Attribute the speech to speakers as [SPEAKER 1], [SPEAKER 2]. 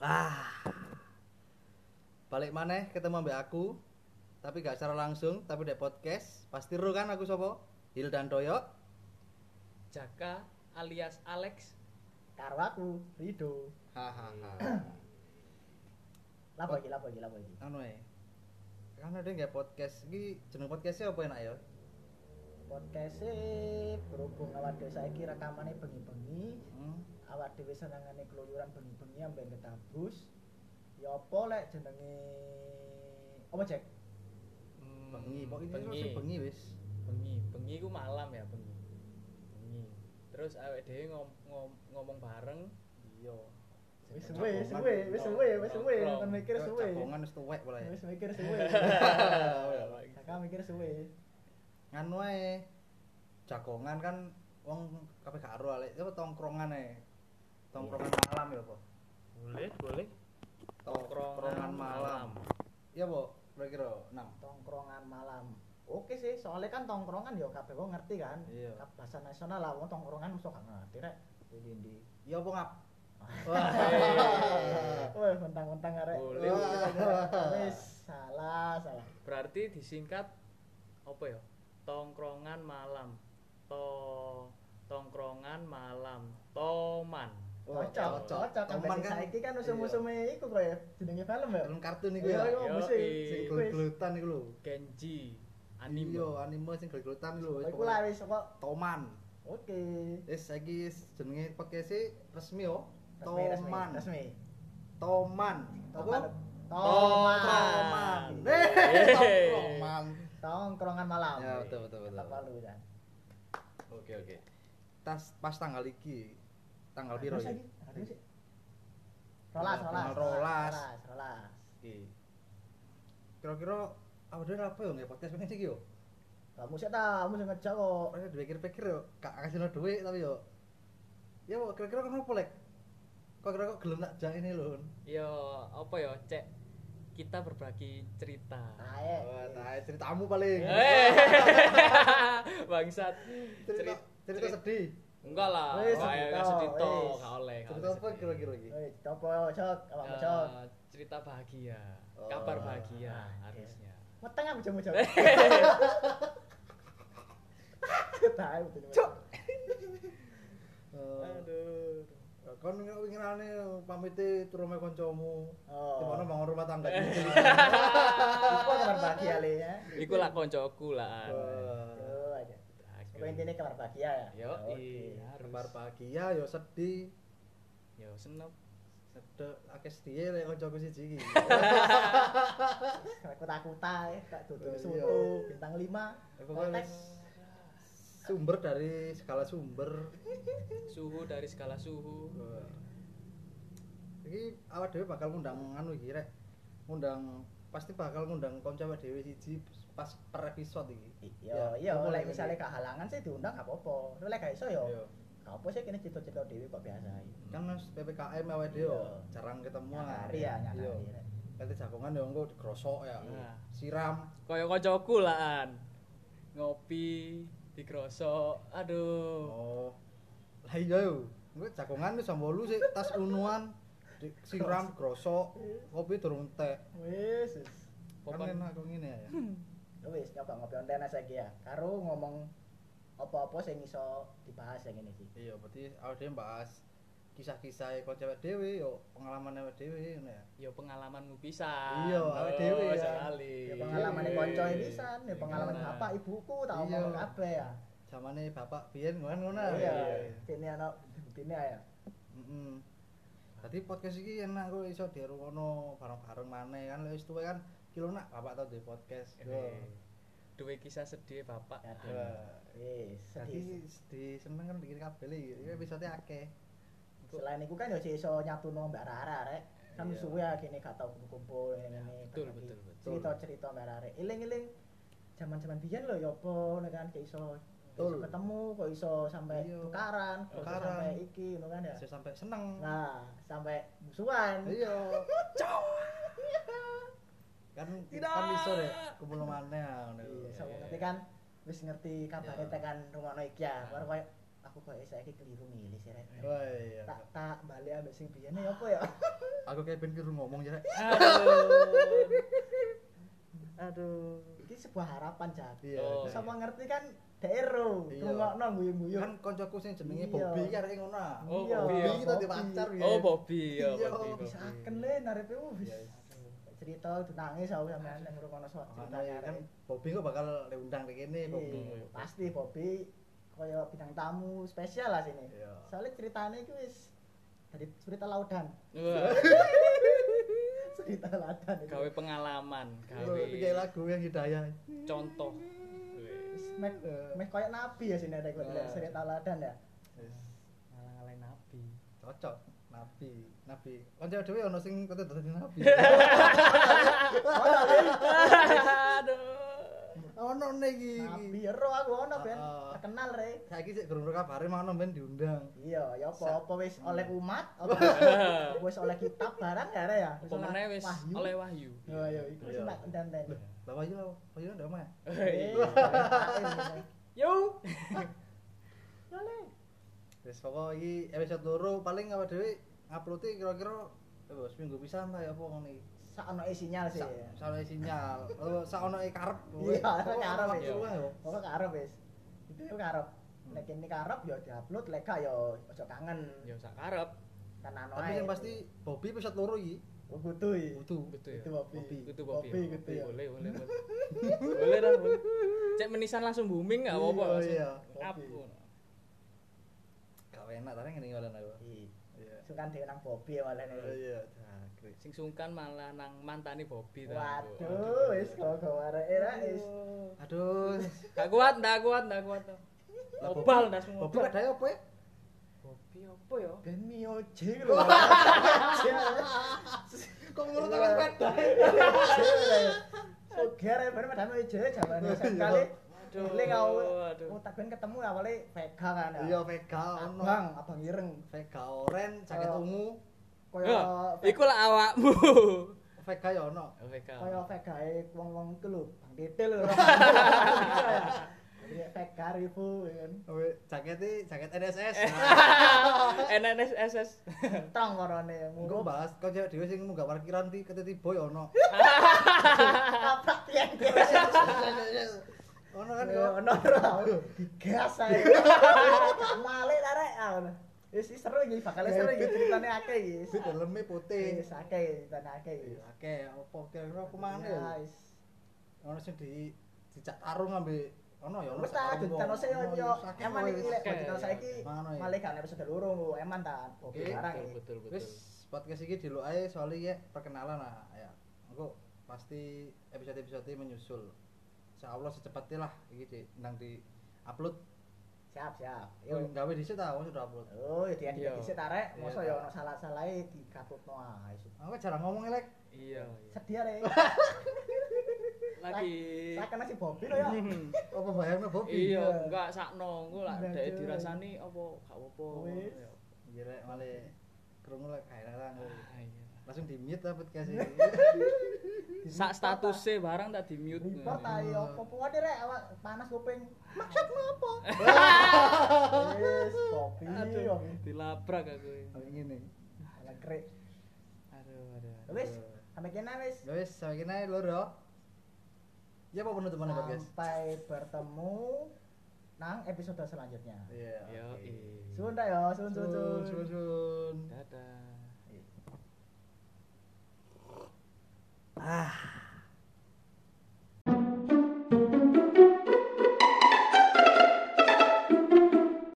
[SPEAKER 1] Ah. maneh ketemu ambek aku. Tapi gak secara langsung, tapi dek podcast. Pasti ro kan aku sopo? Hildan Toyo.
[SPEAKER 2] Jaka alias Alex
[SPEAKER 3] karo aku Rido
[SPEAKER 1] Hahaha.
[SPEAKER 3] lapo iki lapo iki lapo iki
[SPEAKER 1] Anu e. Kan ada nggak podcast iki jeneng podcastnya apa enak ya?
[SPEAKER 3] podcast berhubung awak dhewe saiki rekamane bengi-bengi
[SPEAKER 1] Hmm.
[SPEAKER 3] awak dhewe senengane keluyuran bengi-bengi ambe ngetabus ya apa lek jenenge apa cek
[SPEAKER 1] Bengi, pokok ini
[SPEAKER 2] Hmm, bengi.
[SPEAKER 1] bengi. bengi wis.
[SPEAKER 2] bengi bengi ku malam ya bengi bengi terus awake dhewe ngom, ngom- ngomong bareng iya
[SPEAKER 3] wis
[SPEAKER 1] Jeneng
[SPEAKER 3] suwe
[SPEAKER 1] capongan.
[SPEAKER 3] suwe wis suwe wis suwe
[SPEAKER 2] Nongkrong.
[SPEAKER 3] nonton mikir suwe
[SPEAKER 1] Capongan wis tuwek pula ya.
[SPEAKER 3] wis mikir suwe kakak mikir suwe
[SPEAKER 1] Nganu ae. Jagongan kan wong kabeh gak ero alek, apa tongkrongan ae. Tongkrongan malam ya apa?
[SPEAKER 2] boleh boleh
[SPEAKER 1] Tongkrongan malam. Iya, Bu. Kira-kira nang.
[SPEAKER 3] tongkrongan malam oke sih soalnya kan tongkrongan ya kabeh wong ngerti kan
[SPEAKER 1] Iya.
[SPEAKER 3] Kab- bahasa nasional lah wong tongkrongan mesti gak ngerti rek Ini ndi
[SPEAKER 1] Ya apa ngap?
[SPEAKER 3] weh mentang-mentang arek
[SPEAKER 2] Boleh.
[SPEAKER 3] wis salah salah
[SPEAKER 2] berarti disingkat apa ya tongkrongan malam to tongkrongan malam toman
[SPEAKER 3] cocok cocok
[SPEAKER 1] Oh, Teman
[SPEAKER 3] sampe
[SPEAKER 1] kan.
[SPEAKER 3] saiki kan usum-usume iku kok ya jenenge film ya
[SPEAKER 1] Film kartun iku ya.
[SPEAKER 3] Iya, iya, mesti.
[SPEAKER 2] Yoi.
[SPEAKER 1] Sing
[SPEAKER 3] Wis.
[SPEAKER 1] gelut-gelutan iku lho.
[SPEAKER 2] Genji
[SPEAKER 1] Iya,
[SPEAKER 2] anime
[SPEAKER 1] anime sing gelut-gelutan iku lho. wis
[SPEAKER 3] Oh, iku lah
[SPEAKER 1] pokoknya.
[SPEAKER 3] wis kok
[SPEAKER 1] Toman.
[SPEAKER 3] oke
[SPEAKER 1] Wis saiki wis jenenge podcast resmi yo.
[SPEAKER 3] resmi resmi
[SPEAKER 1] Toman.
[SPEAKER 3] resmi
[SPEAKER 1] Toman.
[SPEAKER 3] Toman.
[SPEAKER 1] Apa?
[SPEAKER 3] Toman.
[SPEAKER 1] Toman. Eh, Toman.
[SPEAKER 3] tongkrongan malam
[SPEAKER 1] Ya, betul betul betul.
[SPEAKER 3] Apa lu kan
[SPEAKER 1] Oke, oke. Tas pas tanggal iki. Tanggal piro ya?
[SPEAKER 3] sih? Rolas,
[SPEAKER 1] Tanggal rolas.
[SPEAKER 3] rolas. rolas, rolas.
[SPEAKER 1] Iki. Kira-kira awalnya apa yo nggih podcast pengen iki yo?
[SPEAKER 3] Kamu sih tahu, kamu sih ngejar kok.
[SPEAKER 1] Pokoknya dipikir-pikir yo, gak kasih lo duit tapi yo. Ya kok kira-kira kenapa lek? Kok kira kok gelem tak jak ini lho.
[SPEAKER 2] yo apa ya cek kita berbagi cerita
[SPEAKER 3] Ae.
[SPEAKER 1] Wah, tai ceritamu paling.
[SPEAKER 2] Eh, bangsat
[SPEAKER 1] Cerita cerita sedih.
[SPEAKER 2] enggak lah
[SPEAKER 3] Wis,
[SPEAKER 2] Wah, ya,
[SPEAKER 3] cerita,
[SPEAKER 2] nggak sedih toh
[SPEAKER 3] wis.
[SPEAKER 2] nggak oleh nggak
[SPEAKER 1] Cerita
[SPEAKER 2] oleh
[SPEAKER 1] apa
[SPEAKER 2] sedih.
[SPEAKER 1] kira-kira iki?
[SPEAKER 3] Woi, copo cok, apa
[SPEAKER 2] Eh,
[SPEAKER 3] cok?
[SPEAKER 2] cerita bahagia
[SPEAKER 1] Oh,
[SPEAKER 2] kabar bahagia
[SPEAKER 3] oke.
[SPEAKER 2] harusnya
[SPEAKER 3] Meteng aku jamu cok. Tahu betul. Cok.
[SPEAKER 1] Eh,
[SPEAKER 2] aduh
[SPEAKER 1] Kon ngirane pamite turu me kancamu.
[SPEAKER 3] Oh.
[SPEAKER 1] Gimana bangun rumah tangga
[SPEAKER 2] Eh.
[SPEAKER 1] gitu.
[SPEAKER 3] Iku kabar bahagia le ya.
[SPEAKER 2] iku lah koncoku lah
[SPEAKER 3] Yo aja.
[SPEAKER 2] Aku.
[SPEAKER 3] Pokoknya intinya kabar bahagia ya.
[SPEAKER 2] yo
[SPEAKER 3] Oke.
[SPEAKER 2] iya harus.
[SPEAKER 1] Kembar bahagia yo sedih.
[SPEAKER 2] yo senep
[SPEAKER 1] Sedek akeh sedih lek kancaku siji iki.
[SPEAKER 3] Kota-kota ya, tak
[SPEAKER 1] Oh,
[SPEAKER 3] tutup
[SPEAKER 1] iya.
[SPEAKER 3] soto bintang 5.
[SPEAKER 1] Pokoknya
[SPEAKER 3] Konteks.
[SPEAKER 1] wis sumber dari segala sumber.
[SPEAKER 2] suhu dari skala suhu
[SPEAKER 1] Wah. Iki awak dhewe bakal ngundang anu iki rek. Ngundang pasti bakal ngundang kanca awak dhewe siji pas per episode iki.
[SPEAKER 3] Yo, iya,
[SPEAKER 1] Ngomong
[SPEAKER 3] lek
[SPEAKER 1] lagi.
[SPEAKER 3] misalnya kehalangan sih diundang gak apa-apa. Lek gak iso yo,
[SPEAKER 1] Iya.
[SPEAKER 3] Gak apa sih kini cita-cita dewi kok biasa ya.
[SPEAKER 1] Kan mas PPKM awake dhewe
[SPEAKER 3] Iya.
[SPEAKER 1] jarang ketemu.
[SPEAKER 3] Nyari ya,
[SPEAKER 1] Iya.
[SPEAKER 3] nyari. Rek.
[SPEAKER 1] Kali jagongan ya engko digrosok ya.
[SPEAKER 2] Iya.
[SPEAKER 1] Siram.
[SPEAKER 2] koyo koncoku lah an ngopi dikrosok aduh
[SPEAKER 1] Oh. Lah iya yo. Engko jagongan wis jam 8 sih tas unuan siram grosok kopi durung teh.
[SPEAKER 3] Wis, wis.
[SPEAKER 1] Kan
[SPEAKER 2] Pokon-
[SPEAKER 1] enak kok ngene ya.
[SPEAKER 3] Lu wis nyoba ngopi online aja iki ya. Karo ngomong apa-apa sing iso dibahas yang ini iki.
[SPEAKER 1] Iya, berarti awal dhewe bahas kisah-kisah kok cewek dhewe yo pengalaman awake dhewe ngono ya.
[SPEAKER 2] yo pengalamanmu pisan
[SPEAKER 1] Iya, awake dhewe ya.
[SPEAKER 2] sekali
[SPEAKER 3] Ya pengalaman konco ini san, ya
[SPEAKER 2] Iya.
[SPEAKER 3] pengalaman bapak ibuku tak
[SPEAKER 1] Iya.
[SPEAKER 3] omong kabeh ya.
[SPEAKER 1] Zamane bapak biyen ngono ngono.
[SPEAKER 3] Iya,
[SPEAKER 1] Heeh.
[SPEAKER 3] dene ana dene ya.
[SPEAKER 1] Dadi podcast iki enak kok iso dirungono bareng-bareng maneh kan lek wis tuwa kan kilo nak bapak tau di podcast. Yo.
[SPEAKER 2] Duwe kisah sedih bapak.
[SPEAKER 3] Ya,
[SPEAKER 1] Wah,
[SPEAKER 3] Wis, sedih.
[SPEAKER 1] Dadi di seneng kan dikira kabeh iki. Iki episode akeh.
[SPEAKER 3] Selain iku kan yo sih iso nyatuno Mbak Rara rek. Kan
[SPEAKER 2] Iya.
[SPEAKER 3] suwe ya kene gak tau kumpul-kumpul ngene.
[SPEAKER 2] Betul, betul, betul.
[SPEAKER 3] Cerita-cerita Mbak Rara. Eling-eling jaman-jaman biyen lho ya apa ngono kan gak iso
[SPEAKER 1] Betul.
[SPEAKER 3] Kok iso ketemu kok iso sampai
[SPEAKER 1] Iya.
[SPEAKER 3] tukaran, kok iso
[SPEAKER 1] Tukaran.
[SPEAKER 3] sampai iki ngono kan ya.
[SPEAKER 1] Iso sampe seneng.
[SPEAKER 3] Nah, sampai musuhan.
[SPEAKER 1] Iya. Kan kan iso deh kumpul maneh ngono.
[SPEAKER 3] Iya,
[SPEAKER 1] Iya.
[SPEAKER 3] sampe ngerti kan wis ngerti kabare
[SPEAKER 2] Iya.
[SPEAKER 3] tekan rumono iki ya. Baru koyo aku aku kok saiki keliru milih sih rek.
[SPEAKER 1] Wah iya.
[SPEAKER 3] Tak tak balik ambek sing biyene ya apa ya?
[SPEAKER 1] Aku kayak ben kira ngomong ya. Rek.
[SPEAKER 2] Aduh.
[SPEAKER 3] Aduh, iki sebuah harapan Jat.
[SPEAKER 1] Iya.
[SPEAKER 2] Oh.
[SPEAKER 1] Sama
[SPEAKER 3] Sapa ngerti kan daero,
[SPEAKER 1] Iya.
[SPEAKER 3] rungokno guyu-guyu.
[SPEAKER 1] kan koncoku sing jenenge
[SPEAKER 3] Iya.
[SPEAKER 1] Bobby iki arek ngono. ah.
[SPEAKER 2] Oh,
[SPEAKER 3] Iya,
[SPEAKER 2] Bobby,
[SPEAKER 1] Bobby
[SPEAKER 2] iya.
[SPEAKER 1] kita di
[SPEAKER 3] Bobby.
[SPEAKER 1] pacar ya.
[SPEAKER 2] Oh, Bobby ya,
[SPEAKER 1] Iya,
[SPEAKER 2] Bobby.
[SPEAKER 3] Wis
[SPEAKER 2] Bobby.
[SPEAKER 3] aken le narepe wis.
[SPEAKER 1] Iya.
[SPEAKER 3] Aduh, Cerita itu nangis aku sampean nang rungokno sok
[SPEAKER 1] Makanya
[SPEAKER 3] ceritanya
[SPEAKER 1] kan
[SPEAKER 3] kan.
[SPEAKER 1] Bobby kok bakal diundang kayak gini Bobby.
[SPEAKER 2] Iya.
[SPEAKER 3] Pasti Bobby kaya bintang tamu spesial lah sini.
[SPEAKER 1] Iya.
[SPEAKER 3] Soalnya ceritanya itu wis dari cerita laudan.
[SPEAKER 2] Wah,
[SPEAKER 3] cerita laudan itu.
[SPEAKER 2] gawe pengalaman, gawe
[SPEAKER 1] Tapi kayak lagu yang hidayah.
[SPEAKER 2] contoh.
[SPEAKER 3] Wis Mek mek koyo nabi ya sini ada kalau
[SPEAKER 2] Nah.
[SPEAKER 3] tidak cerita laudan ya.
[SPEAKER 1] Wis,
[SPEAKER 2] Ngalang-ngalain nabi.
[SPEAKER 1] Cocok. Nabi, nabi. Kanca dhewe ono sing kate dadi nabi.
[SPEAKER 2] Aduh.
[SPEAKER 1] Ono ne iki.
[SPEAKER 3] Nabi ya ro aku ono ben
[SPEAKER 1] Heeh.
[SPEAKER 3] terkenal re.
[SPEAKER 1] Saiki sik gerung kabare mau ben diundang.
[SPEAKER 3] Iya, ya
[SPEAKER 1] Sa- Hmm.
[SPEAKER 3] apa apa wis oleh umat, apa apa wis oleh kitab barang ya re ya.
[SPEAKER 2] Pemenangnya wis
[SPEAKER 3] wahyu.
[SPEAKER 2] oleh wahyu.
[SPEAKER 3] Ya ya iku wis
[SPEAKER 1] Iya.
[SPEAKER 3] tak ndanteni.
[SPEAKER 1] Lah, Lah wayu lah, wayu ndak mah.
[SPEAKER 3] Eh,
[SPEAKER 2] Hei.
[SPEAKER 3] ceritain,
[SPEAKER 2] Yo.
[SPEAKER 3] Ya le.
[SPEAKER 1] Wis pokoke iki episode loro paling apa dhewe ngupload kira-kira eh, wis minggu pisan ta ya apa ngono iki.
[SPEAKER 3] Sakno e sinyal sih.
[SPEAKER 1] Sa- Saono sinyal. Oh, saono karep. Oh,
[SPEAKER 3] Iya, saono karep,
[SPEAKER 1] Waktu
[SPEAKER 2] iya.
[SPEAKER 1] luang, yo.
[SPEAKER 3] Pokok karep wis. Itu karep.
[SPEAKER 1] Hmm.
[SPEAKER 3] Nek ini karep ya diupload, lek gak ya aja kangen.
[SPEAKER 2] Yo sak karep.
[SPEAKER 3] Kan anu
[SPEAKER 1] Tapi
[SPEAKER 3] ae.
[SPEAKER 1] yang pasti Bobby episode loro iki
[SPEAKER 3] Oh, kudu i.
[SPEAKER 1] butuh.
[SPEAKER 2] Betul ya.
[SPEAKER 3] Itu kopi.
[SPEAKER 1] Kopi.
[SPEAKER 2] Itu Bobby.
[SPEAKER 3] Kopi,
[SPEAKER 2] Bobby,
[SPEAKER 3] gitu ya.
[SPEAKER 2] Boleh, boleh. boleh. Boleh dah, boleh. Cek menisan langsung booming enggak apa-apa.
[SPEAKER 1] Iya,
[SPEAKER 2] langsung
[SPEAKER 1] iya.
[SPEAKER 2] up.
[SPEAKER 3] Kopi.
[SPEAKER 1] Gak enak tapi ngene ngono aku.
[SPEAKER 3] Iya.
[SPEAKER 1] Iya.
[SPEAKER 3] Sukan dhewe nang Bobby malah
[SPEAKER 1] Oh,
[SPEAKER 3] nih.
[SPEAKER 1] Iya, cakri.
[SPEAKER 2] Sing sungkan malah nang mantani Bobby ta.
[SPEAKER 3] Waduh, wis kok kok arek era wis.
[SPEAKER 1] Aduh.
[SPEAKER 2] Gak kuat, gak kuat, gak kuat.
[SPEAKER 1] Lah,
[SPEAKER 2] Obal
[SPEAKER 1] Bobby-
[SPEAKER 2] dah semua.
[SPEAKER 1] Bobby kadang apa ya?
[SPEAKER 2] Bobby apa ya?
[SPEAKER 3] Ben mioje lho.
[SPEAKER 1] Kok ngurut sama sepeda?
[SPEAKER 3] Oke, arek ben padha mioje jamane sekali.
[SPEAKER 2] Aduh.
[SPEAKER 3] Eling aku.
[SPEAKER 2] aduh.
[SPEAKER 3] Oh, tak ben ketemu awale Vega kan. ya.
[SPEAKER 1] Iya, Vega ono.
[SPEAKER 3] Abang, abang ireng.
[SPEAKER 1] Vega oren, jaket
[SPEAKER 3] Oh.
[SPEAKER 1] ungu.
[SPEAKER 2] Ya,
[SPEAKER 3] Kaya
[SPEAKER 2] iku lah awakmu.
[SPEAKER 1] Vega ya ono.
[SPEAKER 2] Oke, Kak.
[SPEAKER 3] kaya vegae wong-wong iku lho, Bang Titil lho. Jadi vega ribu kan.
[SPEAKER 1] Tapi jaketnya jaket NSS.
[SPEAKER 2] NNSSS.
[SPEAKER 3] Tong korone
[SPEAKER 1] Engko
[SPEAKER 3] ngurup
[SPEAKER 1] bahas kok cewek dhewe sing munggah parkiran ti ketetibo ya ono.
[SPEAKER 3] kaprak tiang.
[SPEAKER 1] Ono kan
[SPEAKER 3] kan
[SPEAKER 1] kok.
[SPEAKER 3] ono ora digas ae malik arek ah ngono. wis wis seru iki bakal seru iki ceritane akeh iki
[SPEAKER 1] Fit daleme putih.
[SPEAKER 3] wis akeh ceritane akeh iki
[SPEAKER 1] Iya, Akeh opo kira-kira aku mana ya?
[SPEAKER 3] wis
[SPEAKER 1] Ono sing di dicak tarung ambe ono ya ono.
[SPEAKER 3] wis ta ceritane sing yo eman iki lek
[SPEAKER 2] Akeh,
[SPEAKER 3] ceritane saiki
[SPEAKER 1] Mano ya.
[SPEAKER 3] malik kan episode loro eman ta oke
[SPEAKER 1] Oke,
[SPEAKER 3] barang
[SPEAKER 2] Betul,
[SPEAKER 3] iki
[SPEAKER 2] betul, betul.
[SPEAKER 1] Wis podcast iki dulu ae soalnya ya perkenalan lah ya. Engko pasti episode-episode menyusul. Insyaallah secepatnya lah iki di nang di upload.
[SPEAKER 3] siap siap
[SPEAKER 1] Yo
[SPEAKER 3] yo
[SPEAKER 1] gawe dhisik ta, wong sudah upload.
[SPEAKER 3] Oh, dia
[SPEAKER 2] Iya.
[SPEAKER 3] dikit sik tarek,
[SPEAKER 1] Iya,
[SPEAKER 3] mosok yo
[SPEAKER 1] Tarek.
[SPEAKER 3] ono salah-salahe digabutno ae.
[SPEAKER 1] Aku jarang ngomong elek.
[SPEAKER 2] Iya, iya.
[SPEAKER 3] Sedih arek.
[SPEAKER 2] Lagi. Hmm.
[SPEAKER 3] Saken masih Bobby lho ya.
[SPEAKER 1] Apa bayangno Bobby?
[SPEAKER 2] Iya,
[SPEAKER 3] Iya.
[SPEAKER 2] enggak sakno engko lah
[SPEAKER 3] Enggak,
[SPEAKER 2] dhek
[SPEAKER 3] iya.
[SPEAKER 2] dirasani apa gak apa-apa.
[SPEAKER 3] Wis.
[SPEAKER 2] Ya.
[SPEAKER 1] Iya lek male krungu lek kairan.
[SPEAKER 2] Ah, iya.
[SPEAKER 1] Langsung di mute lah podcast iki.
[SPEAKER 2] Sak statuse barang tak di mute.
[SPEAKER 3] Report ae
[SPEAKER 1] Hmm.
[SPEAKER 3] opo pokoke rek awak panas kuping. Maksudmu apa? Wis kopi
[SPEAKER 2] Aduh,
[SPEAKER 3] kopi.
[SPEAKER 2] dilabrak aku.
[SPEAKER 1] Kayak ngene.
[SPEAKER 3] Ala krek.
[SPEAKER 2] Aduh, aduh. aduh.
[SPEAKER 3] Wis, sampe kene wis.
[SPEAKER 1] Ya wis, sampe kene loro. Ya apa penutupan podcast?
[SPEAKER 3] Sampai bertemu nang episode selanjutnya.
[SPEAKER 1] Iya.
[SPEAKER 2] Yo,
[SPEAKER 1] oke.
[SPEAKER 3] Suwun ta yo, suwun suwun.
[SPEAKER 1] Sun, sun,
[SPEAKER 3] suwun.
[SPEAKER 1] sun.
[SPEAKER 2] Dadah.
[SPEAKER 1] Ah.